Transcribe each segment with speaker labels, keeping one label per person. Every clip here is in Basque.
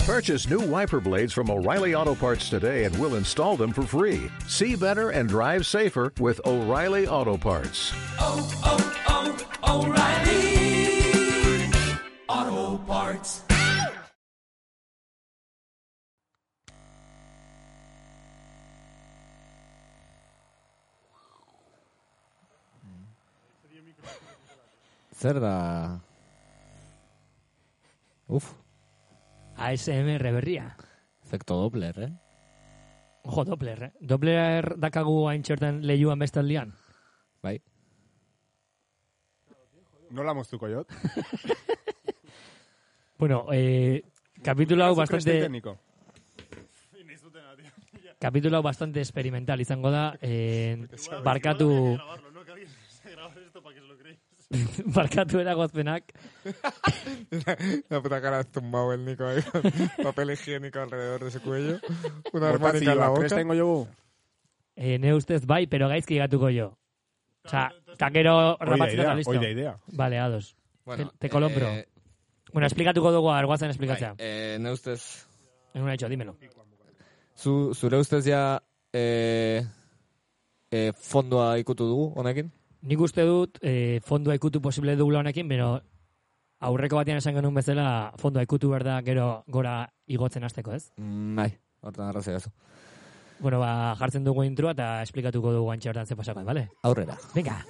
Speaker 1: Purchase new wiper blades from O'Reilly Auto Parts today and we'll install them for free. See better and drive safer with O'Reilly Auto Parts.
Speaker 2: oh, oh, O'Reilly Auto Parts.
Speaker 3: Zer da... Uf,
Speaker 4: ASMR berria.
Speaker 3: efekto Doppler, eh?
Speaker 4: Jo, Doppler, eh? Doppler dakagu hain txertan lehiuan bestaldian.
Speaker 3: Bai.
Speaker 5: Nola moztuko jot?
Speaker 4: Bueno, eh, kapitulo hau bastante,
Speaker 5: Tekniko.
Speaker 4: kapitulo hau bastante experimental izango da. Eh, barkatu... barkatu eragozpenak.
Speaker 6: La puta cara has tumbado el Nico ahí con papel higiénico alrededor de su cuello. Una armónica en la
Speaker 5: Botatzioa,
Speaker 6: boca.
Speaker 5: krestengo jogu?
Speaker 4: Eh, ne ustez bai, pero gaizki gatuko jo. Osa, takero
Speaker 5: Oida
Speaker 4: rapatzita
Speaker 5: idea,
Speaker 4: eta listo.
Speaker 5: oida idea.
Speaker 4: Vale, ados.
Speaker 3: Bueno,
Speaker 4: te, te colombro.
Speaker 3: eh,
Speaker 4: Bueno, esplikatuko dugu argoazen
Speaker 3: bai,
Speaker 4: esplikatzea.
Speaker 3: eh, ne ustez,
Speaker 4: En una hecho, dímelo.
Speaker 3: zu, zure ustez ja eh, eh, fondoa ikutu dugu honekin?
Speaker 4: Nik uste dut eh, fondoa ikutu posible dugula honekin, bero aurreko batean esan genuen bezala fondoa ikutu behar da gero gora igotzen hasteko, ez?
Speaker 3: Mm, bai, hortan arrazoi dazu.
Speaker 4: Bueno, ba, jartzen dugu introa eta esplikatuko dugu antxe hortan ze pasako, bale?
Speaker 3: Aurrera.
Speaker 4: Venga!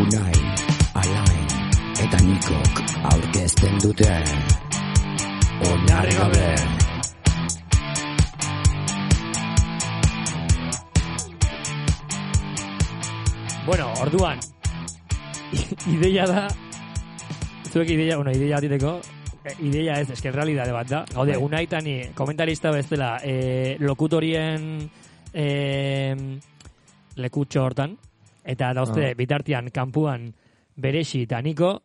Speaker 7: Unai, Alain eta Nikok aurkezten dute Onarri gabe
Speaker 4: Bueno, orduan, ideia da, zuek ideia, bueno, ideia atiteko, eh, ideia ez, eske realidade bat da. Gaude,
Speaker 3: Bai.
Speaker 4: unai tani, komentarista bezala, eh, lokutorien eh, lekutxo hortan, eta dauzte,
Speaker 3: Ah.
Speaker 4: bitartian, kanpuan, beresi eta niko,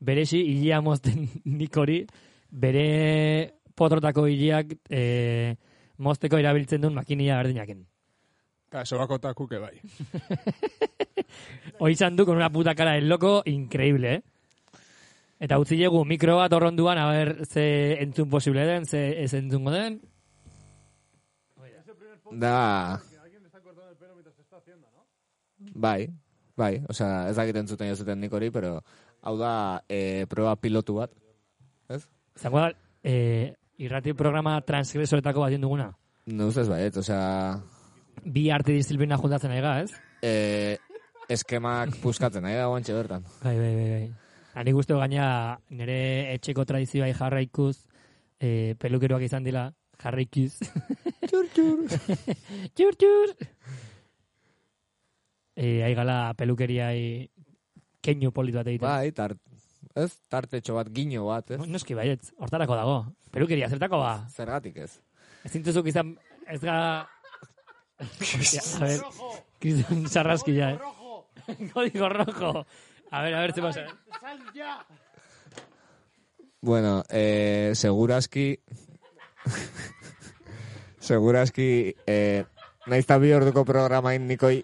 Speaker 4: beresi, hilea mozten nikori, bere potrotako hileak eh, mozteko erabiltzen duen makinia berdinaken.
Speaker 5: Ka, sobako eta kuke bai.
Speaker 4: Hoy Sandu con una puta cara del loco increíble, ¿eh? Eta utzi jegu mikro bat horronduan, a ver, ze entzun posible den, ze ez entzungo den.
Speaker 3: Da... Bai, bai, osea, ez dakit entzuten jozuten nik hori, pero hau da eh, proba pilotu bat.
Speaker 4: Zango da, eh, irrati programa transgresoretako bat egin duguna.
Speaker 3: Ne ustez baiet, osea,
Speaker 4: Bi arte disziplina juntatzen ari gara, ez?
Speaker 3: eh, eskemak puskatzen, nahi dagoen bertan.
Speaker 4: Bai, bai, bai, bai. Hanik uste gaina nire etxeko tradizioai jarraikuz, eh, pelukeroak izan dila, jarraikuz. txur, txur. txur, txur. Eh, hai gala pelukeriai keinu politu bat egiten.
Speaker 3: Bai, tart, ez, tartetxo bat, gino bat, ez?
Speaker 4: No, Noski baietz, hortarako dago. Pelukeria, zertako ba.
Speaker 3: Zergatik ez.
Speaker 4: Ez zintuzuk izan, ez ga... Hostia, a ver, kriston sarraski ja, eh. Código rojo. A ver, a ver, ze pasa.
Speaker 3: Bueno, eh, seguraski... seguraski, eh, nahiz eta bi orduko programain nikoi...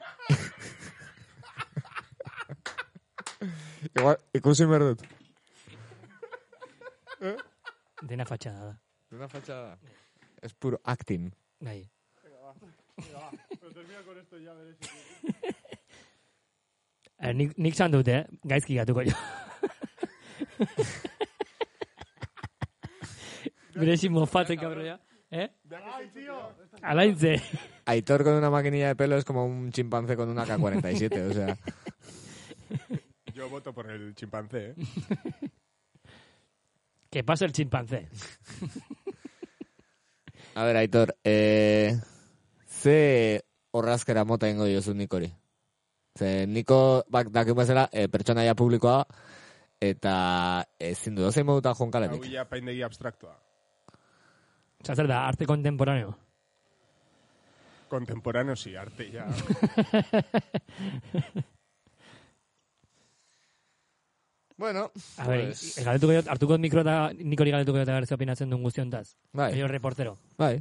Speaker 6: Igual, ikusi behar dut.
Speaker 4: Dena fatxada da.
Speaker 3: Una fatxada. Ez puro acting.
Speaker 4: Bai. Eh, nik, nik zan dut, eh? Gaizki gatuko jo. Berezi mofatzen kabroia. Eh? Alaintze.
Speaker 3: Aitor con una maquinilla de pelo es como un chimpancé con una K-47, o sea...
Speaker 5: Jo voto por el chimpancé, eh?
Speaker 4: Que pasa el chimpancé.
Speaker 3: A ver, Aitor, eh, ze horrazkera mota ingo diozu nikori? Ze niko, bak, dakik bezala, eh, pertsonaia publikoa, eta ezin du dozein moduta
Speaker 5: Hau
Speaker 3: jonkalarik.
Speaker 5: ia paindegi abstraktoa.
Speaker 4: Osa, zer da, arte kontemporaneo.
Speaker 5: Kontemporaneo si, arte, ja.
Speaker 3: Bueno,
Speaker 4: A ver, pues... galdetuko jot, hartuko mikro eta nik hori galdetuko jot, a ber, ze opinatzen duen guztiontaz.
Speaker 3: bai,
Speaker 4: Oio reportero.
Speaker 3: bai.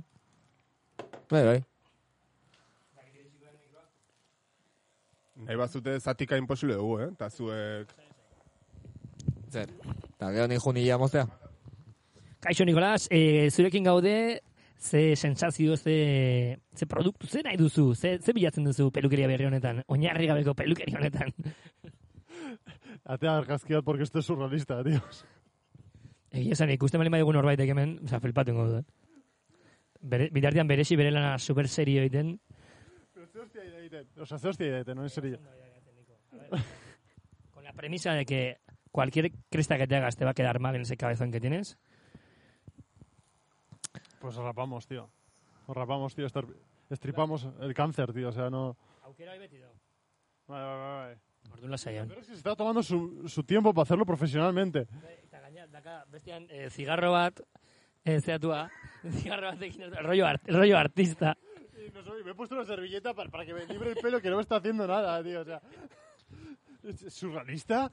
Speaker 3: Bai, bai.
Speaker 5: Nahi bazute zatika imposible dugu, eh? Eta zuek...
Speaker 3: Zer. Eta gero ni jun hila moztea.
Speaker 4: Kaixo, Nikolas, e, zurekin gaude, ze sensazio, ze, ze produktu, ze nahi duzu, ze, ze bilatzen duzu pelukeria berri honetan, oinarri gabeko pelukeria honetan.
Speaker 8: Atea argazki bat, porque esto es surrealista, tío.
Speaker 4: Egia esan, ikusten bali madugu norbaitek hemen, oza, felpatu ingo dut. Bere, bitartean beresi bere lana super serio egiten,
Speaker 8: Ze hostia egiten, oza, ze hostia egiten, no, en serio.
Speaker 4: con la premisa de que cualquier cresta que te hagas te va a quedar mal en ese cabezón que tienes.
Speaker 8: Pues rapamos, tío. Os rapamos, tío, estar- estripamos el cáncer, tío, o sea, no...
Speaker 4: Aukera hoi beti dago.
Speaker 8: Bai, bai, bai, bai.
Speaker 4: Orduan lasaian.
Speaker 8: Pero es que se está tomando su, su tiempo para hacerlo profesionalmente.
Speaker 4: Eta gaina, daka, bestean, eh, zigarro bat, eh, zeatua, zigarro bat egin, rollo, art, rollo artista.
Speaker 8: Y no soy- me he puesto una servilleta para, para que me libre el pelo que no me está haciendo nada, tío, o sea... ¿Es es surrealista?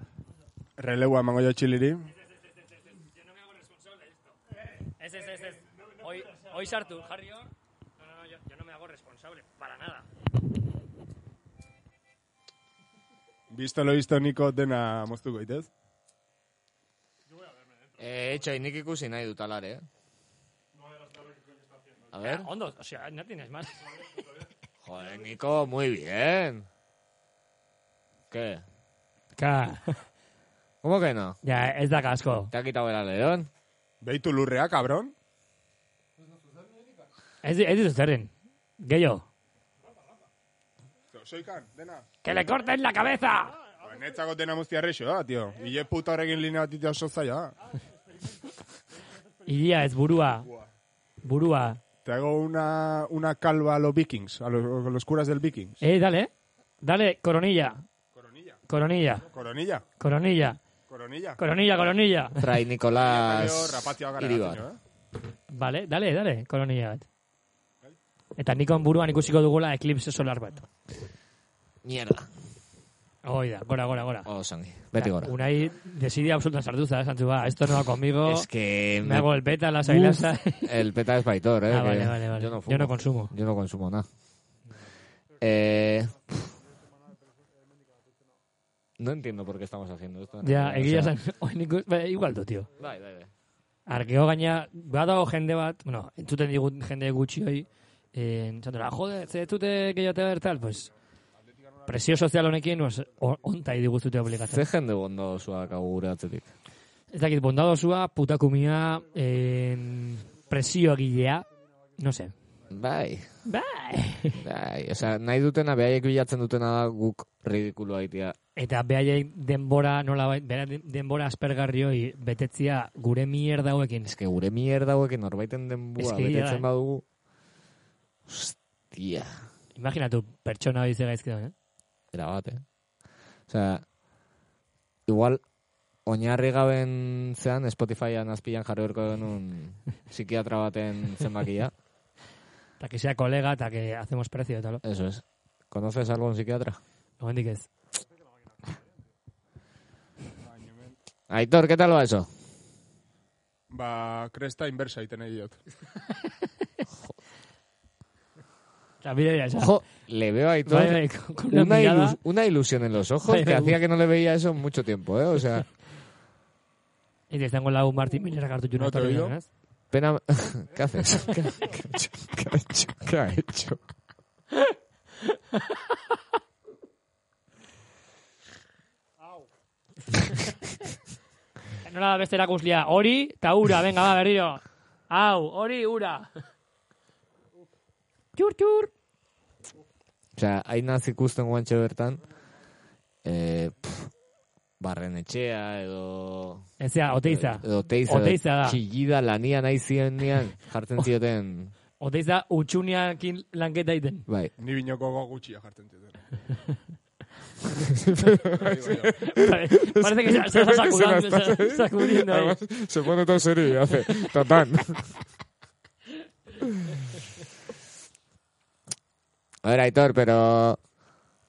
Speaker 5: Releua emango jo txiliri.
Speaker 4: Ez, ez, ez, ez. Hoy, hoy sartu, jarri hor. No, no, no, yo, yo no me hago responsable, para nada.
Speaker 5: Bisto lo visto niko dena moztuko itez.
Speaker 3: Eh, etxai, nik ikusi nahi dut alare, eh. A ver.
Speaker 4: Ondo, o sea, no tienes más.
Speaker 3: Joder, Nico, muy bien. ¿Qué?
Speaker 4: Ka,
Speaker 3: ¿Cómo que no?
Speaker 4: ja, ez da asko.
Speaker 3: ¿Te ha quitado el aleón?
Speaker 5: Beitu lurrea, cabron.
Speaker 4: Ez, di- ez ditu zerren. Gehiago.
Speaker 5: Soikan, dena.
Speaker 4: ¡Que le corten la cabeza!
Speaker 5: Ba, Netzako dena moztia rexo da, tio. Ile puta horrekin linea bat itea oso zaila ah. da.
Speaker 4: Ilia ez burua. Burua.
Speaker 5: Te hago una, una calva a los vikings, a los, a los curas del vikings.
Speaker 4: Eh, dale. Dale, coronilla.
Speaker 5: Coronilla.
Speaker 4: Coronilla.
Speaker 5: Coronilla.
Speaker 4: Coronilla.
Speaker 5: Coronilla.
Speaker 4: Coronilla, coronilla.
Speaker 3: Trae
Speaker 5: Baina,
Speaker 3: Nicolás
Speaker 5: rapazioa gara,
Speaker 3: Iribar.
Speaker 5: eh?
Speaker 4: Vale, dale, dale, kolonia bat. Eta Nikon buruan ikusiko dugula eklipse solar bat.
Speaker 3: Mierda.
Speaker 4: Hoi da, gora, gora, gora.
Speaker 3: Oh, sangi. Beti gora.
Speaker 4: Unai desidia absolutan sartuza, eh, Santzu, ba, esto no va conmigo,
Speaker 3: Es que...
Speaker 4: me hago el beta, las
Speaker 3: Uf,
Speaker 4: ailanza.
Speaker 3: El peta es Baitor, eh.
Speaker 4: Ah,
Speaker 3: que
Speaker 4: vale, vale, vale.
Speaker 3: Yo no,
Speaker 4: Yo no
Speaker 3: fumo.
Speaker 4: consumo.
Speaker 3: Yo no consumo nada. Eh... No entiendo por qué estamos haciendo esto.
Speaker 4: Ja, egia
Speaker 3: O sea,
Speaker 4: esan, oin ikus, ba, igual du, tío.
Speaker 3: Bai, bai, bai.
Speaker 4: Arkeo gaina, badago jende bat, bueno, entzuten digu jende gutxi hoi, eh, txandora, jode, ze ez dute gehiatea bertal, pues, presio sozial honekin, pues, o- onta diguztute obligatzen.
Speaker 3: Ze jende bondo zuak agure atzetik.
Speaker 4: Ez dakit, bondadosua, putakumia, eh, presio egilea, no se.
Speaker 3: Bai.
Speaker 4: Bai!
Speaker 3: Bai, osea, nahi dutena, behaiek bilatzen dutena da guk ridikulua aitia.
Speaker 4: Eta behaiei denbora, nola bai, denbora aspergarri hori betetzia gure mierda hauekin.
Speaker 3: Ez que gure mierda hauekin norbaiten denbua
Speaker 4: Ez que egia
Speaker 3: betetzen
Speaker 4: da, eh.
Speaker 3: badugu. Hostia,
Speaker 4: Imaginatu, pertsona hori ze gaizki dauen, eh?
Speaker 3: era bat, eh? Osea, igual, oinarri gaben zean, Spotifyan azpian jarri horko genuen psikiatra baten zenbakia.
Speaker 4: Eta que sea kolega, eta que hacemos precio, eta lo.
Speaker 3: Eso es. ¿Conoces algo un psiquiatra?
Speaker 4: Ogendik ez.
Speaker 3: Aitor, ¿qué tal va eso?
Speaker 5: Ba, kresta inversa egiten egin diot.
Speaker 4: Eta bide bera, esan.
Speaker 3: Ojo, le veo a Aitor
Speaker 4: Bai, bai, con con una
Speaker 3: una,
Speaker 4: mirada.
Speaker 3: ilus- una ilusión en los ojos
Speaker 4: Bai,
Speaker 3: que
Speaker 4: bai.
Speaker 3: hacía que no le veía eso en mucho tiempo, ¿eh? O sea,
Speaker 4: Eta izango lau Martin Miller hartu juna
Speaker 5: No te
Speaker 4: etorri
Speaker 5: oigo.
Speaker 4: denaz.
Speaker 3: pena... ¿Qué haces? ¿Qué, ha hecho? ¿Qué ha hecho? ¿Qué ha hecho?
Speaker 4: Nola da beste erakuslia, hori eta ura, venga, ba, berriro. Hau, hori, ura. Txur, txur.
Speaker 3: Osea, hainaz ikusten guantxe bertan, eh, pff, barren etxea edo...
Speaker 4: Ezea, oteiza.
Speaker 3: Edo teiza. edo
Speaker 4: Oteiza da.
Speaker 3: Txillida lanian nahi ziren nian, jartzen zioten...
Speaker 4: Oteiza utxuniakin lanketa egiten.
Speaker 3: Bai,
Speaker 5: Ni binoko gogo gutxia jartzen eh? zuten.
Speaker 4: Pare- Parece que se, se está sacudiendo, se está sacudiendo ahí.
Speaker 3: se pone todo serio y hace tatán. A ver, Aitor, pero...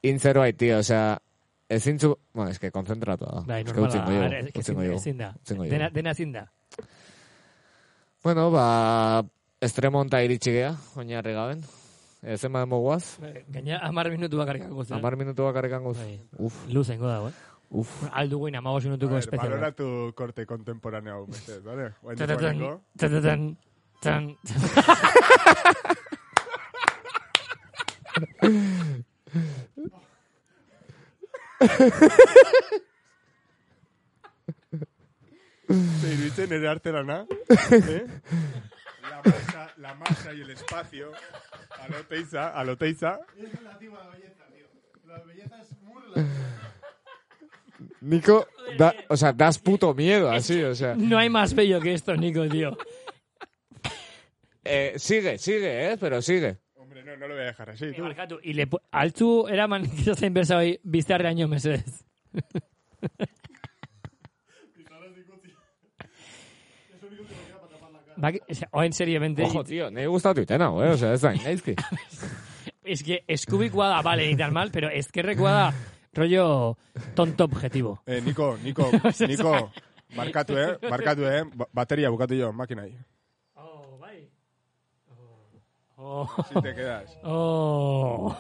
Speaker 3: Inzero ahí, tío, o sea... Ezin zu... Bueno, es que konzentratu da.
Speaker 4: Bai,
Speaker 3: Es que utzi
Speaker 4: normala.
Speaker 3: ingo
Speaker 4: A
Speaker 3: diogu,
Speaker 4: ver, es que
Speaker 3: utzi ingo
Speaker 4: ezin-
Speaker 3: diogu.
Speaker 4: ezin da.
Speaker 3: Utzi ingo diogu.
Speaker 4: Dena, dena ezin da.
Speaker 3: Bueno, ba...
Speaker 9: estremo onta iritsi gea, oinarri gaben. E, zenba demo guaz,
Speaker 4: Gaina, amar minutu bakarkako zen.
Speaker 9: amar minutu bakarrikan guz.
Speaker 4: Bai.
Speaker 9: Uf,
Speaker 4: Luzengo dago, eh?
Speaker 9: uf.
Speaker 4: Aldu guin, amagos minutuko
Speaker 5: Ber,
Speaker 4: espezial.
Speaker 5: Balora
Speaker 4: bat.
Speaker 5: tu korte kontemporanea hau, mesedez, bale? Oain
Speaker 4: Tatatan,
Speaker 5: duzuaneko.
Speaker 4: tatatan, tan.
Speaker 5: Te iruditzen ere artelana. eh? La masa, la masa y el espacio. A lo teiza, a lo teiza.
Speaker 8: Es relativa a la belleza, tío. La belleza es muy relativa.
Speaker 3: Nico, da, o sea, das puto miedo así, o sea.
Speaker 4: No hay más bello que esto, Nico, tío.
Speaker 3: Eh, sigue, sigue, ¿eh? Pero sigue.
Speaker 5: Hombre, no, no lo voy a dejar así,
Speaker 4: Eh,
Speaker 5: tú.
Speaker 4: Barkatu, ile, altzu eraman kizatzen berza bai biztarreaino mesedez. Bak, o sea, oen seriamente,
Speaker 3: Ojo, tío, me gustatu itena, eh? O sea, ez da, naizki.
Speaker 4: es que eskubikoa da, vale, ni tan mal, pero ezkerrekoa da, rollo tonto objetivo.
Speaker 5: Eh, Nico, Nico, Nico. Barkatu, eh? Barkatu, eh? Ba- Bateria bukatu jo, makinai.
Speaker 4: Oh, bai. Oh.
Speaker 5: Si te quedas.
Speaker 4: Oh.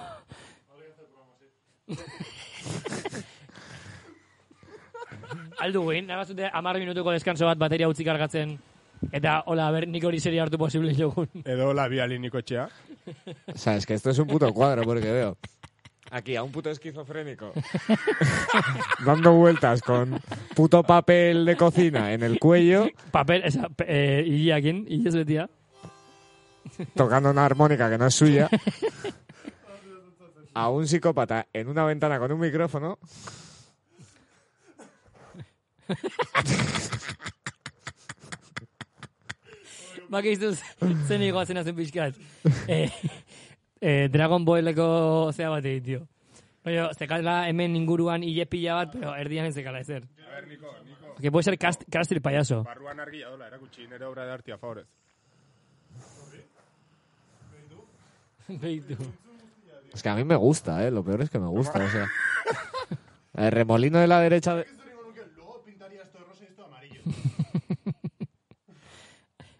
Speaker 4: Aldu guin, nabazute amar minutuko deskanso bat bateria utzi kargatzen. Eta, hola, a ber, nik hori seria hartu posible jogun.
Speaker 5: Edo la biali Nico etxea.
Speaker 3: O sea, es que esto es un puto cuadro, porque veo. Aquí, a un puto esquizofrénico. dando vueltas con puto papel de cocina en el cuello,
Speaker 4: Papel, esa, pe- eh, hilakin, hilez betia.
Speaker 3: tocando una armónica que no es suya. A un psicópata en una ventana con un micrófono.
Speaker 4: Bak iztuz, zen igoazen azen pixkat. Eh, eh, Dragon Balleko zea bat egin, tio. Oio, zekala hemen inguruan hile pila bat, pero erdian ez zekala ezer.
Speaker 5: A ver, Nico, Nico.
Speaker 4: Que puede ser cast, cast el payaso.
Speaker 5: Barruan argia dola, erakutsi, nere obra de artia, favorez.
Speaker 4: Beitu.
Speaker 3: Es que a mí me gusta, ¿eh? Lo peor es que me gusta, o sea. El remolino de la derecha... de-
Speaker 8: Luego pintaría esto de rosa y esto de amarillo.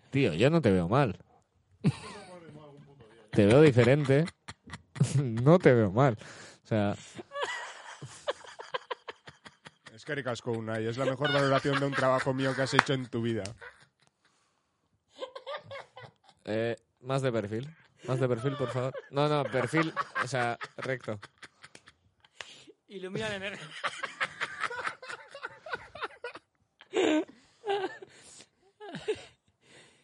Speaker 3: Tío, yo no te veo mal. Te veo diferente. No te veo mal. O sea,
Speaker 5: Eskerrik asko unai, es la mejor valoración de un trabajo mío que has hecho en tu vida.
Speaker 3: eh, más de perfil. Más de perfil, por favor. No, no, perfil, o sea, recto.
Speaker 4: Ilumina el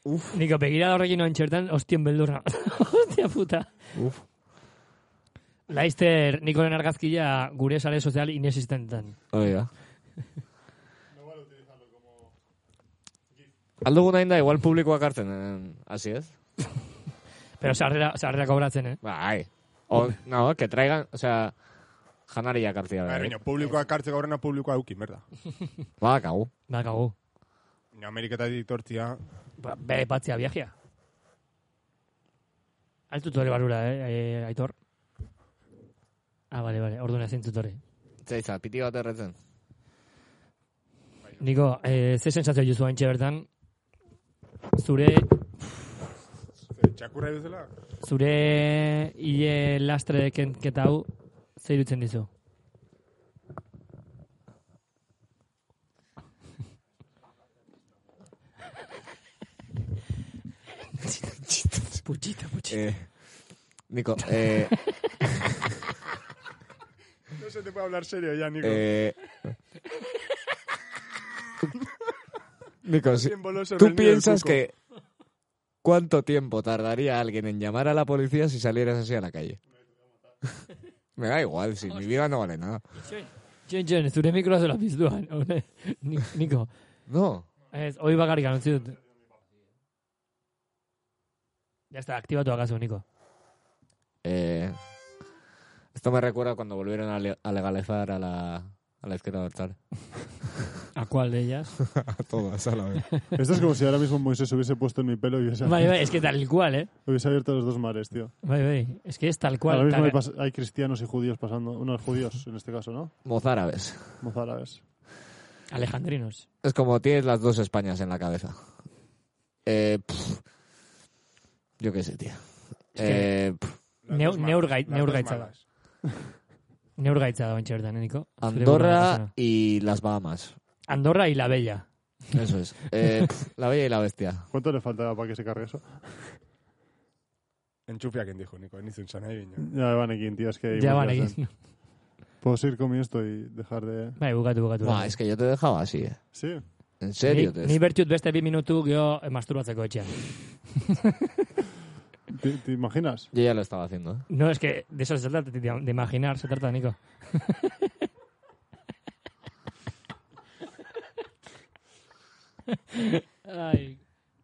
Speaker 4: Uf. Niko, begira horrekin noen txertan, ostion beldurra. Hostia puta.
Speaker 3: Uf.
Speaker 4: Laister, Nikoren argazkia gure sare sozial inexistentan.
Speaker 3: Oiga. Aldugun hain da, igual publikoak hartzen, eh, así es.
Speaker 4: Pero sarrera, sarrera kobratzen, eh?
Speaker 3: Bai. O, no, que traigan, o sea, janariak hartzea.
Speaker 5: Baina, baina, publikoak hartzeko horrena publikoa eukin, berda.
Speaker 3: Ba, kagu.
Speaker 4: Bakagu.
Speaker 5: Baina, Ameriketatik tortzia,
Speaker 4: Ba, bere patzia viajea. Altu tore barura, eh, eh, Aitor? Ah, vale, vale, orduan ezin tutore.
Speaker 3: Zeitza, piti bat erretzen.
Speaker 4: Niko, eh, ze sensazio juzu haintxe bertan? Zure,
Speaker 5: ze, txakurra bezala.
Speaker 4: zure hile lastre kenketa hau, ze irutzen dizu? Puchita, puchita.
Speaker 3: Eh, Nico, eh,
Speaker 5: No se te puede hablar serio ya, Nico.
Speaker 3: eh... Nico, si-
Speaker 5: Símbolo sobre el
Speaker 3: ¿tú
Speaker 5: nido del
Speaker 3: piensas
Speaker 5: cuco.
Speaker 3: que cuánto tiempo tardaría alguien en llamar a la policía si salieras así a la calle? Me da igual, si mi vida no vale nada.
Speaker 4: Txon, txon, zure mikroa zola pizduan. hone. Ni- Niko,
Speaker 3: No,
Speaker 4: ez, hoi bakarrik anotzi dut. Ya está, aktibatu akazu, Niko.
Speaker 3: eh... Esto me recuerda cuando volvieron a, le- a legalizar a la, a la izquierda dorsal.
Speaker 4: ¿A cuál de ellas?
Speaker 3: A todas, a la vez.
Speaker 8: Esto es como si ahora mismo Moisés hubiese puesto en mi pelo y hubiese,
Speaker 4: Bai, bai, es que tal cual, eh.
Speaker 8: hubiese abierto los dos mares, tío.
Speaker 4: Bai, bai, es que es tal
Speaker 8: Ahora
Speaker 4: cual.
Speaker 8: mismo hay,
Speaker 4: Tal...
Speaker 8: pas- hay cristianos y judíos pasando, unos judíos en este caso, ¿no?
Speaker 3: Mozárabes.
Speaker 8: Mozárabes.
Speaker 4: Alejandrinos.
Speaker 3: Es como tienes las dos Españas en la cabeza. Eh, pff. Yo qué sé, tío.
Speaker 4: que-
Speaker 3: Eh, pf,
Speaker 5: Las
Speaker 4: Neu-
Speaker 5: dos malas,
Speaker 4: neurgai-
Speaker 5: las dos
Speaker 4: neurgaitza da.
Speaker 5: malas.
Speaker 4: Neurgaitza da ointxe bertan, eh, Niko? Zure burua
Speaker 3: Andorra
Speaker 4: pasana.
Speaker 3: y las Bahamas.
Speaker 4: Andorra y la Bella.
Speaker 3: Eso es. Eh, pf, la Bella y la Bestia.
Speaker 8: ¿Cuánto le faltaba para que se cargue eso?
Speaker 5: Entxufiak indijo, Niko, ni zen nahi bina.
Speaker 8: Ya van aquí, tío, es que... hay
Speaker 4: Ja,
Speaker 8: muchas,
Speaker 4: ban
Speaker 8: ¿eh?
Speaker 4: egin.
Speaker 8: Puedo seguir con mi esto y dejar de...
Speaker 4: Bai, bukatu, bukatu.
Speaker 3: Buah, Ba, es que yo te dejaba así, eh.
Speaker 8: Sí.
Speaker 3: En
Speaker 4: ni,
Speaker 3: serio. te-
Speaker 4: ni bertiut beste bi minutu geho eh, masturbatzeko etxean.
Speaker 8: ¿Te, te imaginas?
Speaker 3: Yo ya lo estaba haciendo, eh.
Speaker 4: No, es que de eso se trata, de, de imaginar se trata, Nico. Ai,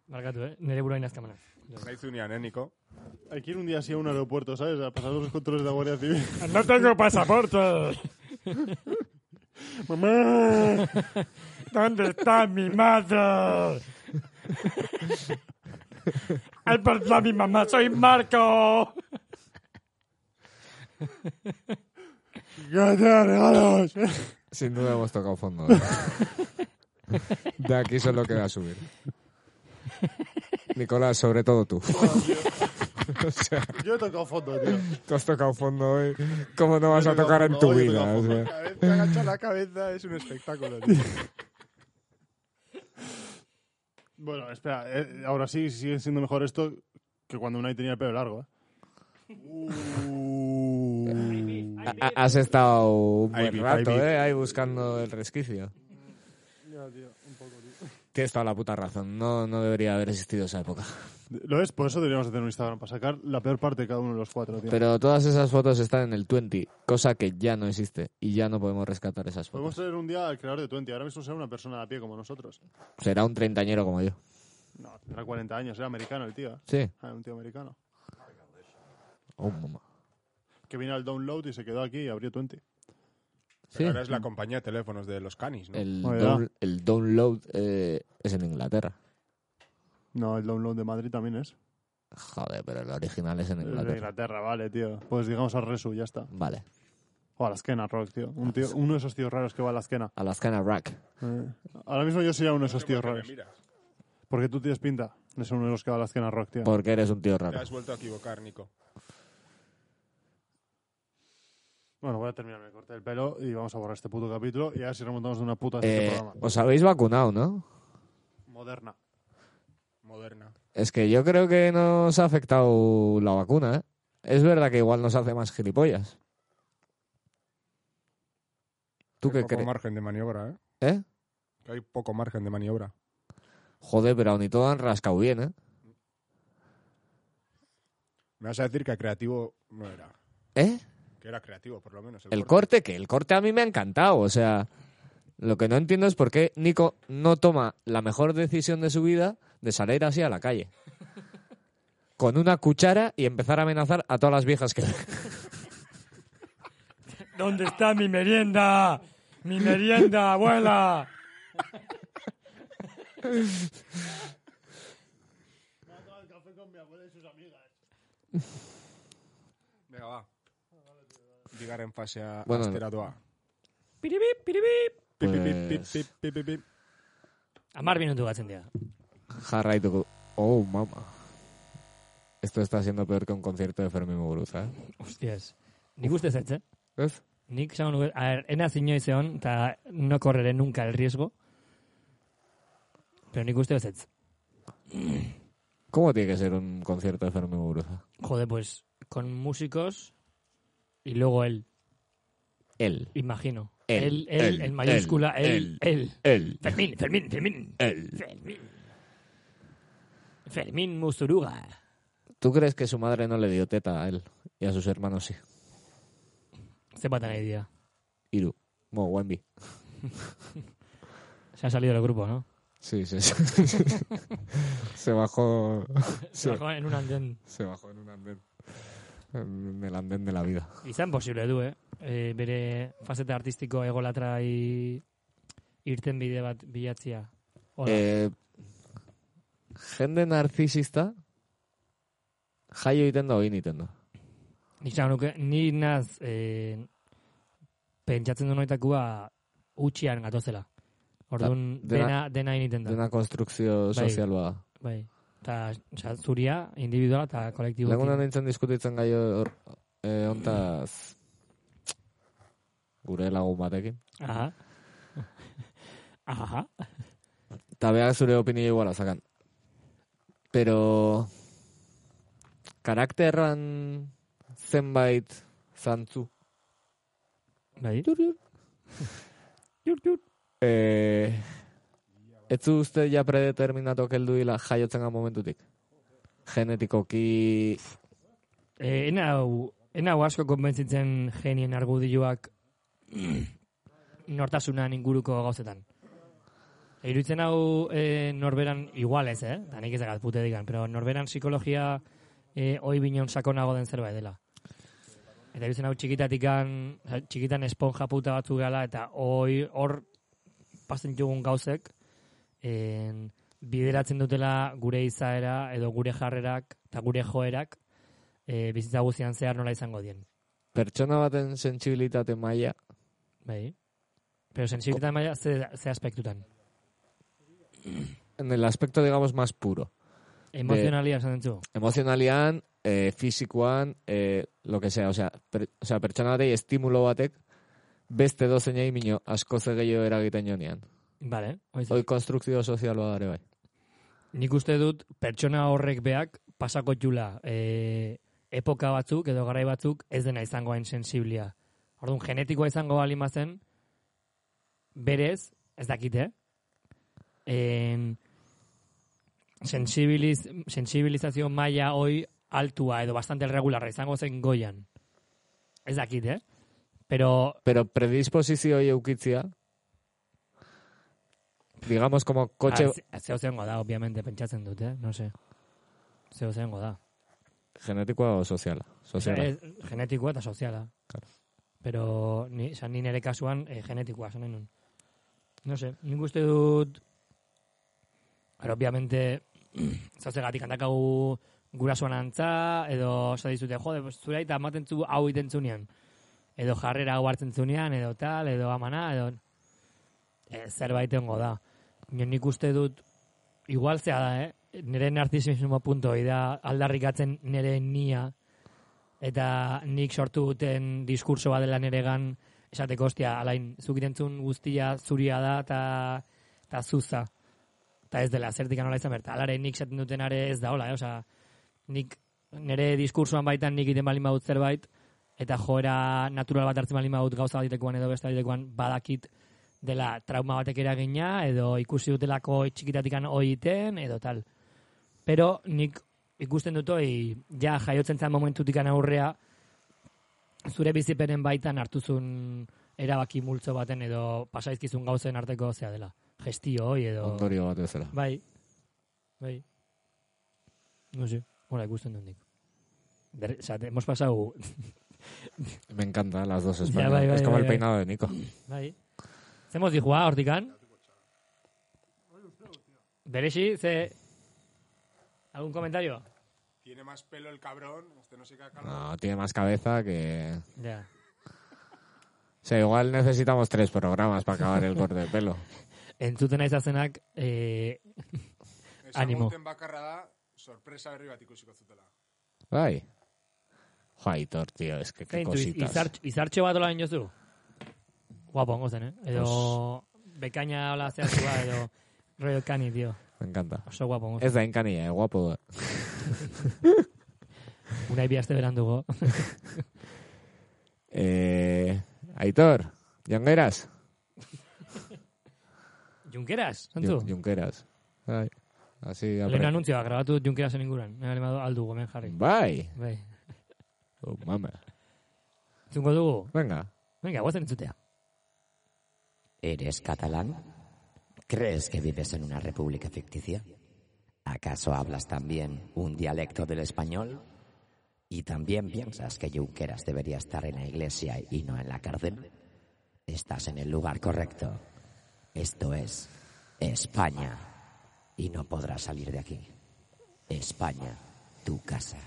Speaker 4: markatu, eh? Nere burua inazkamana.
Speaker 5: Nahi zunean, eh, Niko?
Speaker 8: Hay que ir un día así a un aeropuerto, ¿sabes? A pasar los controles de la Guardia Civil.
Speaker 4: ¡No tengo pasaporte!
Speaker 8: ¡Mamá!
Speaker 4: ¿Dónde está mi madre? ¡Ay, perdón, mi mamá! ¡Soy Marco!
Speaker 8: ¡Gata, regalos!
Speaker 6: Sin duda hemos tocado fondo. ¿eh? De aquí solo queda subir. Nicolás, sobre todo tú. O sea,
Speaker 8: Yo he tocado fondo, tío.
Speaker 6: tú has tocado fondo hoy. ¿Cómo no vas
Speaker 8: Yo
Speaker 6: a
Speaker 8: he tocado
Speaker 6: tocar en
Speaker 8: fondo,
Speaker 6: tu
Speaker 8: hoy he
Speaker 6: vida?
Speaker 8: tocado
Speaker 6: O sea,
Speaker 5: Cada vez que agacha la cabeza es un espectáculo, tío.
Speaker 8: Bueno, espera, eh, ahora sí sigue siendo mejor esto que cuando Unai tenía el pelo largo, ¿eh?
Speaker 6: ha- has estado un
Speaker 5: Ahí
Speaker 6: buen
Speaker 5: vi,
Speaker 6: rato,
Speaker 5: ahí vi.
Speaker 6: ¿eh? Ahí buscando el resquicio. Tienes toda la puta razón. No, no debería haber existido esa época.
Speaker 8: Lo es, por eso deberíamos hacer un Instagram, para sacar la peor parte de cada uno de los cuatro, tío.
Speaker 3: Pero todas esas fotos están en el 20, cosa que ya no existe y ya no podemos rescatar esas
Speaker 8: Podemos
Speaker 3: fotos.
Speaker 8: traer un día al creador de Twenty, ahora mismo será una persona a pie como nosotros.
Speaker 3: Será un treintañero como yo.
Speaker 8: No, tendrá 40 años, era americano el tío, ¿eh?
Speaker 3: Sí.
Speaker 8: Ah, un tío americano.
Speaker 3: Oh, mamá.
Speaker 8: Que vino al download y se quedó aquí y abrió Twenty.
Speaker 3: Sí.
Speaker 5: Pero ahora es la compañía de teléfonos de los canis, ¿no?
Speaker 3: El,
Speaker 8: Oiga.
Speaker 3: down- el download eh, es en Inglaterra.
Speaker 8: No, el download de Madrid también es.
Speaker 3: Joder, pero el original es en
Speaker 8: Es De
Speaker 3: Inglaterra.
Speaker 8: Inglaterra, vale, tío. Pues digamos a Resu, ya está.
Speaker 3: Vale.
Speaker 8: O a la esquena, Rock, tío. Un tío. Uno de esos tíos raros que va a la esquena.
Speaker 3: Alaskana Rack.
Speaker 8: Eh, Ahora mismo yo sería uno de esos tíos
Speaker 5: ¿Por qué me
Speaker 8: raros.
Speaker 5: miras?
Speaker 8: Porque tú tienes pinta de ser uno de los que va a la esquena, Rock, tío.
Speaker 3: Porque eres un tío
Speaker 5: Te
Speaker 3: raro.
Speaker 5: has vuelto a equivocar, Nico.
Speaker 8: Bueno, voy a terminar el corte del pelo y vamos a borrar este puto capítulo y a ver si remontamos de una puta vez este
Speaker 3: Eh,
Speaker 8: programa.
Speaker 3: os habéis vacunado, ¿no?
Speaker 8: Moderna.
Speaker 5: Moderna.
Speaker 3: Es que yo creo que nos ha afectado la vacuna. ¿eh? Es verdad que igual nos hace más gilipollas. ¿Tú
Speaker 5: Hay
Speaker 3: qué
Speaker 5: poco
Speaker 3: crees?
Speaker 5: margen de maniobra, ¿eh?
Speaker 3: ¿Eh?
Speaker 5: Que hay poco margen de maniobra.
Speaker 3: Joder, pero aún y todo han rascado bien, ¿eh?
Speaker 5: Me vas a decir que creativo no era.
Speaker 3: ¿Eh?
Speaker 5: Que era creativo, por lo menos. El,
Speaker 3: El
Speaker 5: corte.
Speaker 3: corte, que el corte a mí me ha encantado. O sea, lo que no entiendo es por qué Nico no toma la mejor decisión de su vida de salir así a la calle. Con una cuchara y empezar a amenazar a todas las viejas que...
Speaker 4: ¿Dónde está mi merienda? ¡Mi merienda, abuela!
Speaker 5: Venga, va. Llegar en fase a
Speaker 3: Bueno,
Speaker 5: asteratua.
Speaker 4: Piribip, piribip!
Speaker 5: Pip, pip,
Speaker 3: Pues-
Speaker 5: pip, pip, pip, pip, pip.
Speaker 4: Amar minutu gatzen dira.
Speaker 3: Jarraituko. Oh, mamá. Esto está siendo peor que un concierto de Fermín Muguruza. ¿eh?
Speaker 4: Hostiaz. Nik uste zetz, eh?
Speaker 3: ¿Ves?
Speaker 4: Nik esango nuke, a ver, ena inoiz egon, eta no correré nunca el riesgo. Pero nik uste bezetz.
Speaker 3: ¿Cómo tiene que ser un concierto de Fermín Muguruza?
Speaker 4: Joder, pues, con músicos y luego él,
Speaker 3: Él.
Speaker 4: imagino.
Speaker 3: Él,
Speaker 4: él, él,
Speaker 3: él,
Speaker 4: en mayúscula, él,
Speaker 3: él,
Speaker 4: él.
Speaker 3: Él.
Speaker 4: Fermín, Fermín, Fermín.
Speaker 3: Él.
Speaker 4: Fermín. Fermín Musturuga.
Speaker 3: ¿Tú crees que su madre no le dio teta a él? Y a sus hermanos sí.
Speaker 4: Zepatan nahi dira.
Speaker 3: Iru. Mo, Wemby.
Speaker 4: Se han salido del grupo, ¿no?
Speaker 6: Sí, sí, sí. Se bajó.
Speaker 4: Se bajó en un andén.
Speaker 6: Se bajó en un andén. En el andén de la vida.
Speaker 4: Izan posible du, eh? E, bere faceta artistiko egolatrai irten bide bat bilatzia. Hola,
Speaker 3: Eh, jende narcisista jaio egiten da, oin egiten da.
Speaker 4: nik esan nuke, ni naz e, pentsatzen du noitakua utxian gatozela. Orduan,
Speaker 3: Da- dena-
Speaker 4: dena, dena initen da.
Speaker 3: De una construcción
Speaker 4: Bai.
Speaker 3: social bada.
Speaker 4: Bai. Eta, osea, zuria, individuala eta kolektiboki.
Speaker 3: Lagunan nintzen diskutitzen gai hor, eh, ontaz, gure lagun batekin.
Speaker 4: Aha. Aha.
Speaker 3: Eta behar zure opinio iguala zakan. Pero, karakterran zenbait zantzu.
Speaker 4: Bai.
Speaker 3: Eh, etzu uste ja predeterminatok heldu dila jaiotzen gan momentutik. Genetikoki
Speaker 4: E, ena hau, ena hau asko konbentzitzen genien argudioak nortasunan inguruko gauzetan. E, iruditzen hau e, norberan igual ez, eh? Da nik ez dakat pute digan, pero norberan psikologia e, oi bineon sakonago den zerbait dela. Eta iruditzen hau txikitatikan, oza, txikitan esponja puta batzu gala, eta oi, hor pasen dugun gauzek, en, bideratzen dutela gure izaera, edo gure jarrerak, eta gure joerak, e, bizitza guztian zehar nola izango dien.
Speaker 3: pertsona baten sentsibilitate maila
Speaker 4: Bai. Pero sensibilitate maila ze, ze aspektutan.
Speaker 3: en el aspecto, digamos, más puro.
Speaker 4: Emozionalia esan zu.
Speaker 3: Emozionalian, eh, fisikoan, eh, lo que sea. Osea, per, osea pertsona batei estimulo batek beste dozein egin mino asko gehiago eragiten jonean.
Speaker 4: Vale. Oiz,
Speaker 3: Hoi konstrukzio sozialoa dare bai.
Speaker 4: Nik uste dut pertsona horrek beak pasako jula e, epoka batzuk edo garai batzuk ez dena izango hain sensiblia. Orduan genetikoa izango bali mazen berez, ez eh? dakite, en, sensibiliz, sensibilizazio maila hoi altua edo bastante regularra izango zen goian. Ez dakite, pero
Speaker 3: Pero predisposizio hoi eukitzia, digamos, como kotxe...
Speaker 4: Ah, Zeo zengo da, obviamente, pentsatzen dut, eh? No sé. Zeo zengo da.
Speaker 3: genetikoa o soziala? Soziala.
Speaker 4: Eh, genetikoa eta soziala.
Speaker 3: Claro.
Speaker 4: Pero, ni, oza, ni nere kasuan eh, genetikoa, esan nun. No sé, nik uste dut... Pero, obviamente, zauze gatik handakagu gurasoan antza, edo, oza, dizute, jode, pues, zura eta ematen zu hau iten zunean. Edo jarrera hau hartzen zunean, edo tal, edo amana, edo... Eh, zerbait ongo da. Baina nik uste dut, igual zea da, eh? Nire narcisismo punto hori da aldarrikatzen nire nia eta nik sortu duten diskurso bat dela niregan esateko ostia, alain, zuk irentzun guztia zuria da eta eta zuza. Eta ez dela, zertik nola izan berta. Alare nik esaten duten are ez da hola, eh? Osa, nik nire diskursoan baitan nik iten balin badut zerbait, eta joera natural bat hartzen balin badut gauza bat ditekoan edo beste ditekoan badakit dela trauma batek eragina, edo ikusi dutelako txikitatikan oiten, edo tal. Pero nik ikusten dut hoi, ja jaiotzen zen momentutikan aurrea, zure bizipenen baitan hartuzun erabaki multzo baten edo pasaizkizun gauzen arteko zea dela. Gestio hoi edo...
Speaker 3: Ondorio bat bezala.
Speaker 4: Bai. Bai. No sé, hola, ikusten dut nik. Ber, o sea, te- hemos pasado...
Speaker 3: Me encanta las dos
Speaker 4: Ya,
Speaker 3: españolas.
Speaker 4: bai, bai,
Speaker 3: es como
Speaker 4: bai,
Speaker 3: el
Speaker 4: bai.
Speaker 3: peinado de Nico.
Speaker 4: Bai. Ze moz dihua, hortikan? Berexi, ze... ¿Algún comentario?
Speaker 5: Tiene más pelo el cabrón, este no se caca.
Speaker 3: No, tiene más cabeza que...
Speaker 4: Ya.
Speaker 3: O sea, igual necesitamos tres programas para acabar el corte de pelo.
Speaker 4: Entzuten aiz azenak, eh, Animo.
Speaker 5: Ezagutzen bakarra da, sorpresa berri bat ikusiko zutela.
Speaker 3: Bai. Jo, Aitor, tío, es que qué
Speaker 4: zein zu, iz-
Speaker 3: cositas.
Speaker 4: izartx- izartxo bat olain jozu? Guapo, ongo zen, eh? Edo... Bekaina hola zehatua, edo... Royal Cani, tío.
Speaker 3: Me encanta.
Speaker 4: Oso guapo, ongo zen.
Speaker 3: Ez da enkanilla, eh, guapo da.
Speaker 4: Unai bi aste berandugo.
Speaker 3: Eh, Aitor, Jongueras.
Speaker 4: Junkeras, zantzu?
Speaker 3: Jun- Junqueras. Bai. Así
Speaker 4: Lehen
Speaker 3: apre...
Speaker 4: anuntzioa, grabatu dut Junkerasen inguran. Hemen animatu aldu gomen jarri.
Speaker 3: Bai.
Speaker 4: Bai.
Speaker 3: Oh, mama.
Speaker 4: Zungo dugu.
Speaker 3: Venga.
Speaker 4: Venga, guazen entzutea.
Speaker 7: ¿Eres catalán? ¿Crees que vives en una república ficticia? ¿Acaso hablas también un dialecto del español? ¿Y también piensas que Junqueras debería estar en la iglesia y no en la cárcel? Estás en el lugar correcto. Esto es España. Y no podrás salir de aquí. España, tu casa.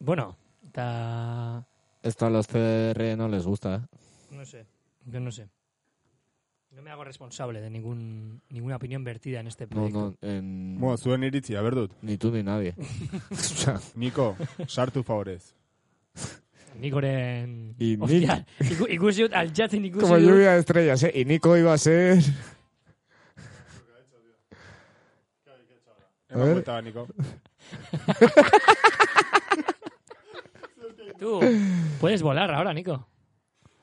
Speaker 4: Bueno, eta...
Speaker 3: Esto a los CR no les gusta, eh.
Speaker 4: No sé. Yo no sé. No me hago responsable de ningún, ninguna opinión vertida en este
Speaker 3: No,
Speaker 4: proyecto.
Speaker 3: no, en-
Speaker 5: Bueno, zuen iritzia, berdut.
Speaker 3: ni tú ni nadie. O sea,
Speaker 5: Niko, sartu favorez.
Speaker 4: Nikoren...
Speaker 3: Y Nik-
Speaker 4: Hostia, iku- ikusi dut, altxatzen ikusi
Speaker 3: como
Speaker 4: dut.
Speaker 3: lluvia de estrellas, ¿eh? Y Nico iba a ser... A
Speaker 5: Eman
Speaker 3: ver.
Speaker 5: buelta, Niko.
Speaker 4: Tú, puedes volar ahora, Nico.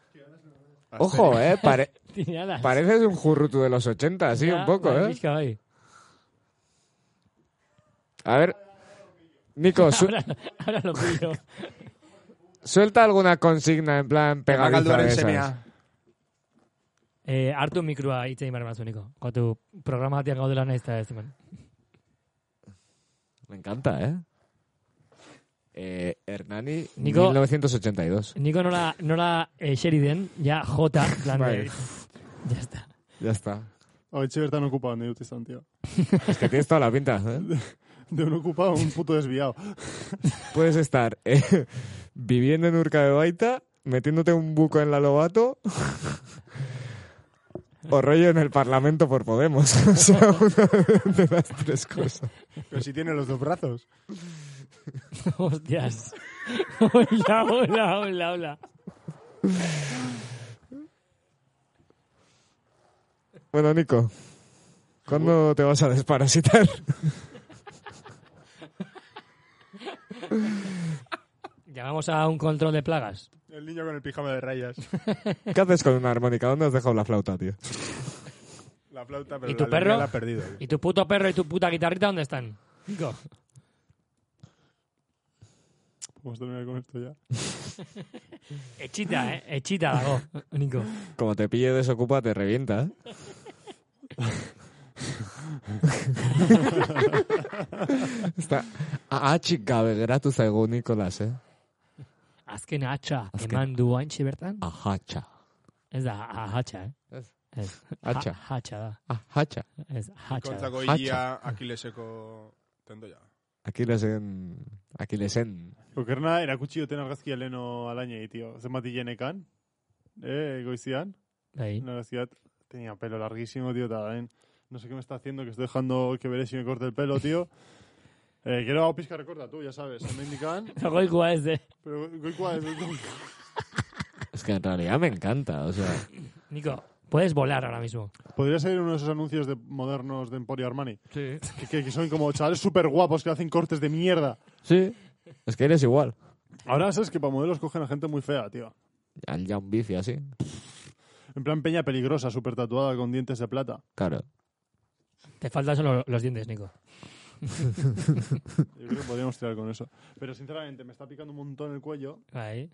Speaker 3: Ojo, ¿eh? Pare-
Speaker 4: Tiene alas.
Speaker 3: pareces un jurrutu de los 80, así
Speaker 4: Ya,
Speaker 3: un poco,
Speaker 4: bai,
Speaker 3: ¿eh?
Speaker 4: pixka bai.
Speaker 3: A ver... Nico, su-
Speaker 4: Ahora, ahora lo pillo.
Speaker 3: suelta alguna consigna en plan pegadiza de
Speaker 5: Bakalduaren
Speaker 3: esas.
Speaker 5: semea.
Speaker 4: Eh, hartu mikroa hitz egin behar batzu, Niko. Kotu, programa batian gaudela nahiz eta ez eman.
Speaker 3: Me encanta, ¿eh? Eh, Hernani,
Speaker 4: Nico-
Speaker 3: 1982.
Speaker 4: Niko nola, nola eseri den, ja, jota, plan de...
Speaker 3: Bai.
Speaker 4: Ya está.
Speaker 3: Ya está.
Speaker 8: Hau etxe bertan okupado nire dut izan, tío.
Speaker 3: Es que tienes toda la pinta. ¿eh?
Speaker 8: De un ocupado, un puto desviado.
Speaker 3: Puedes estar eh, viviendo en Urca de Baita, metiéndote un buco en la Lobato o rollo en el Parlamento por Podemos. O sea, una de las tres cosas.
Speaker 5: Pero si tiene los dos brazos.
Speaker 4: Hostias. Hola, hola, hola, hola.
Speaker 3: Bueno, Nico, ¿cuándo te vas a desparasitar?
Speaker 4: Llamamos a un control de plagas.
Speaker 5: El niño con el pijama de rayas.
Speaker 3: ¿Qué haces con una armónica? ¿Dónde has dejado la flauta, tío?
Speaker 5: La flauta, pero
Speaker 4: ¿Y tu
Speaker 5: la alegría
Speaker 4: perro?
Speaker 5: la ha perdido.
Speaker 4: ¿Y tu puto perro y tu puta guitarrita dónde están? Nico.
Speaker 8: Vamos a terminar con esto ya.
Speaker 4: Etxita, eh? Etxita dago, Nico.
Speaker 3: Como te pille desocupa, te revienta. ¿eh? Está ahatxik gabe geratu zaigu Nikolas, eh?
Speaker 4: Azken hatxa eman du haintxe bertan?
Speaker 3: Ahatxa.
Speaker 4: Ez da, ahatxa, eh?
Speaker 3: Ez.
Speaker 4: Ez.
Speaker 3: Hatxa.
Speaker 4: Ha- Hatxa da.
Speaker 3: Ahatxa.
Speaker 4: Ez, hatxa da.
Speaker 5: Kontzako higia akileseko tendoia.
Speaker 3: Akilesen... Akilesen...
Speaker 8: Okerna, erakutsi duten argazkia leno alainei, tío. Zenbat hilenekan, eh, goizian.
Speaker 4: Bai.
Speaker 8: La ciudad tenía pelo larguísimo, tío. También. No sé qué me está haciendo, que estoy dejando que veré si me corte el pelo, tío. Eh, quiero hago pizca recorta, tú, ya sabes. Se me indican,
Speaker 4: Goikoa ez eh. de.
Speaker 8: pero eh, goikoa ez dut.
Speaker 3: Es que en realidad me encanta, o sea...
Speaker 4: Nico, puedes volar ahora mismo.
Speaker 8: Podría salir uno de esos anuncios de modernos de Emporio Armani. Sí. Que, que- que son como chavales súper guapos que hacen cortes de mierda.
Speaker 3: Sí, es que eres igual.
Speaker 8: Ahora sabes que para modelos cogen a gente muy fea, tío.
Speaker 3: Al ya un bici así.
Speaker 8: En plan peña peligrosa, súper tatuada con dientes de plata.
Speaker 3: Claro.
Speaker 4: Te faltan solo los dientes, Nico.
Speaker 8: Yo creo que podríamos tirar con eso. Pero sinceramente, me está picando un montón el cuello.
Speaker 4: Bai.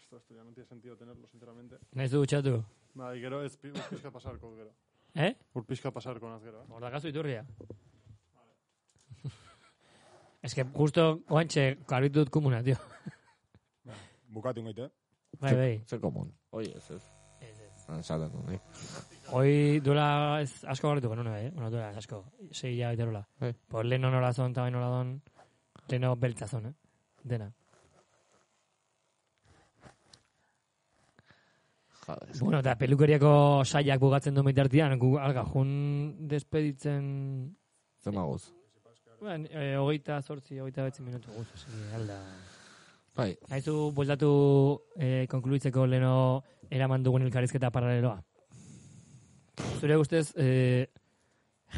Speaker 8: Esto, esto ya no tiene sentido tenerlo, sinceramente.
Speaker 4: Naiz du dutxatu.
Speaker 8: Nada, y quiero es pizca pasar con gero.
Speaker 4: Eh?
Speaker 8: Urpizka pasar con azgero. eh.
Speaker 4: Ordagazu iturria. Es que justo oantxe karbitu dut kumuna, tío.
Speaker 5: Bukatu ingoite.
Speaker 4: Bai, bai.
Speaker 3: Soy común. Oye, eso es... Ah, salen, ¿eh?
Speaker 4: Hoi duela ez asko garritu genuen, eh? Bueno, duela ez asko. Sei hilabete hola.
Speaker 3: Bai.
Speaker 4: Por leno nola zon, eta bai nola don, leno beltza zon, eh? Dena.
Speaker 3: Joder, es que-
Speaker 4: Bueno, eta pelukeriako saiak bugatzen du mitartian, gu alga, jun despeditzen...
Speaker 3: Zer magoz.
Speaker 4: Bueno, e, hogeita sortzi, hogeita betzi minutu guz, hasi alda.
Speaker 3: Bai,
Speaker 4: Haizu, bueltatu e, konkluitzeko leno eraman dugun elkarrizketa paraleloa. Zure ustez, e,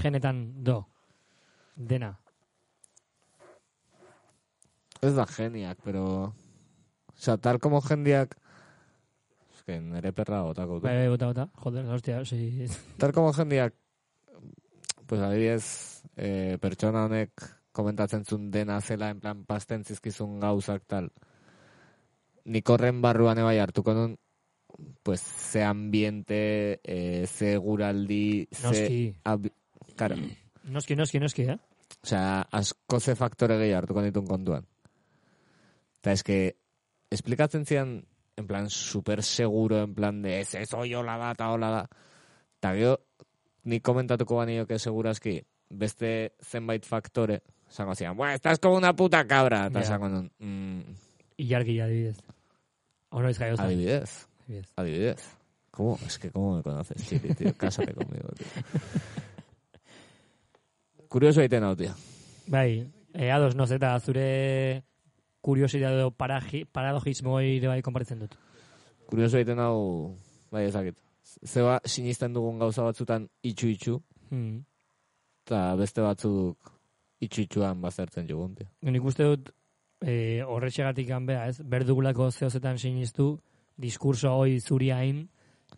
Speaker 4: genetan do, dena.
Speaker 3: Ez da geniak, pero... Osa, tal como geniak... Es que nere perra botako dut.
Speaker 4: Bai, bai, bota, bota. Joder, la hostia, sí.
Speaker 3: Tal como jendeak... Pues adibidez, eh, pertsona honek komentatzen zuen dena zela, en plan, pasten zizkizun gauzak tal. Nik horren barruan ebai hartuko nun, pues, ze ambiente, eh, ze guraldi, ze...
Speaker 4: Noski,
Speaker 3: Ab... Karo,
Speaker 4: noski, noski, noski, eh?
Speaker 3: Osea, asko ze faktore gehi hartuko ditun kontuan. Eta eske, esplikatzen zian, en plan, super seguro, en plan, de ez, ez, oi, hola da, eta hola da. Eta gero, nik komentatuko banioke segurazki, beste zenbait faktore, esango zian, bueno, estás como una puta cabra, eta
Speaker 4: Ja.
Speaker 3: esango nun, mm,
Speaker 4: Ilargi adibidez. Ono ez gaio zen,
Speaker 3: adibidez,
Speaker 4: adibidez.
Speaker 3: adibidez. ¿Cómo? Es que cómo me conoces, Chiri, tío. Cásate conmigo, tío. Curioso egiten hau, tío.
Speaker 4: Bai, e, ados, noz, eta zure kuriosidade edo paragi- paradojismo ere bai konpartzen dut.
Speaker 3: Kurioso egiten hau, bai ezakit. Zeba ba, sinisten dugun gauza batzutan itxu-itxu,
Speaker 4: Hmm.
Speaker 3: eta beste batzuk itxu-itxuan bazertzen jugun, tío.
Speaker 4: Nik uste dut e, horretxegatik ganbea, ez? Berdugulako zehozetan sinistu, diskurso hoi zuri hain,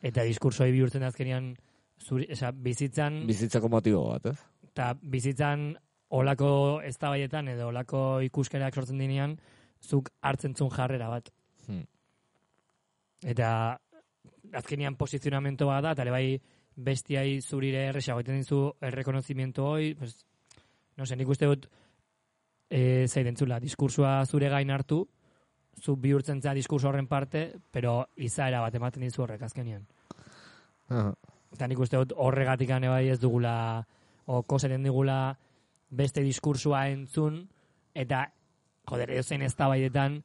Speaker 4: eta diskurso hoi bihurtzen da azkenean zuri, esa, bizitzan,
Speaker 3: Bizitzako motibo bat, ez?
Speaker 4: eta bizitzan olako eztabaietan edo olako ikuskerak sortzen dinean, zuk hartzen zuen jarrera bat.
Speaker 3: Hmm.
Speaker 4: Eta azkenean posizionamento bat da, eta ere bai bestiai zurire erresago egiten dizu errekonozimiento hoi, pues, no sé, nik uste dut e, zaidentzula, diskursua zure gain hartu, zu bihurtzen za diskurso horren parte, pero izaera bat ematen dizu horrek azkenean.
Speaker 3: Aha.
Speaker 4: Eta nik uste dut horregatik bai ez dugula, o koseren digula beste diskursua entzun, eta, joder, edo zein ez tabaidetan,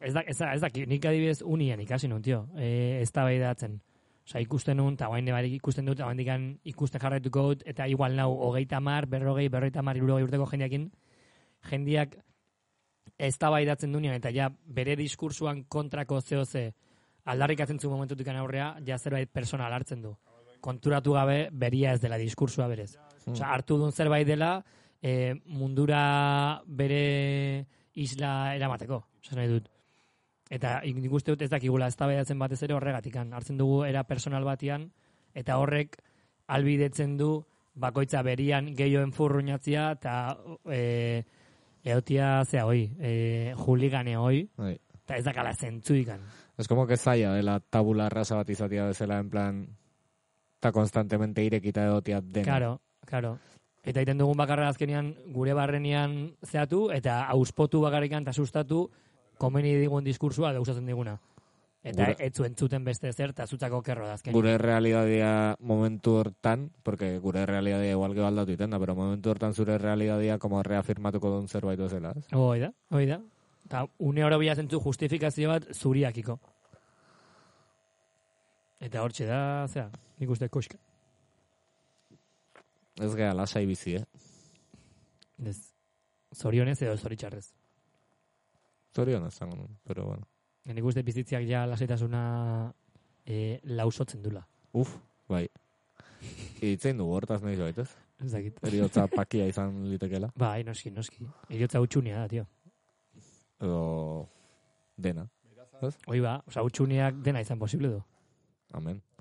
Speaker 4: ez da, ez da, ez da, nik adibidez unian ikasi nun, tio, e, ez tabaidatzen. Osa, ikusten nun, eta guain barik ikusten dut, guain ikusten jarraituko dut, eta igual nau, hogeita mar, berrogei, berrogeita mar, irurogei urteko jendeakin, jendeak ez tabaidatzen dunean, eta ja, bere diskursuan kontrako zehoze, aldarrikatzen zu momentutik aurrea, ja zerbait personal hartzen du. Konturatu gabe, beria ez dela diskursua berez. Osea, hartu duen zerbait dela, eh, mundura bere isla eramateko, esan nahi dut. Eta ik- nik uste dut ez dakigula ez batez ere horregatikan. Hartzen dugu era personal batian, eta horrek albidetzen du bakoitza berian gehioen furruñatzia eta eh, eotia zea hoi, eh, juligane hoi,
Speaker 3: Bai.
Speaker 4: eta ez dakala zentzuikan.
Speaker 3: Es como que zaila dela tabula raza bat izatea bezala en plan eta constantemente irekita egotia dena.
Speaker 4: Claro, claro. Eta egiten dugun bakarra azkenean gure barrenean zeatu eta auspotu bakarrikan eta sustatu komeni digun diskursua da usatzen diguna. Eta
Speaker 3: Gure-
Speaker 4: etzu entzuten beste zer eta zutzako kerro da azkenean.
Speaker 3: Gure realidadea momentu hortan, porque gure realidadea igual que aldatu iten da, pero momentu hortan zure realidadea como reafirmatuko duen zerbait bezala. ez?
Speaker 4: Hoi da, hoi da. Eta une oro bilatzen zu justifikazio bat zuriakiko. Eta hortxe da, zera, nik uste koska.
Speaker 3: Ez gara lasai bizi, eh?
Speaker 4: Ez. Zorionez edo zoritxarrez.
Speaker 3: Zorion ez zango, nun, pero bueno.
Speaker 4: Nik uste bizitziak ja lasaitasuna e, lausotzen dula.
Speaker 3: Uf, bai. Itzein dugu hortaz nahi joaitez.
Speaker 4: Ez dakit.
Speaker 3: Eriotza pakia izan litekela.
Speaker 4: Bai, noski, noski. Eriotza utxunea da, tio.
Speaker 3: Edo dena.
Speaker 4: Hoi ba, oza, utxuneak dena izan posible du.
Speaker 3: Amen.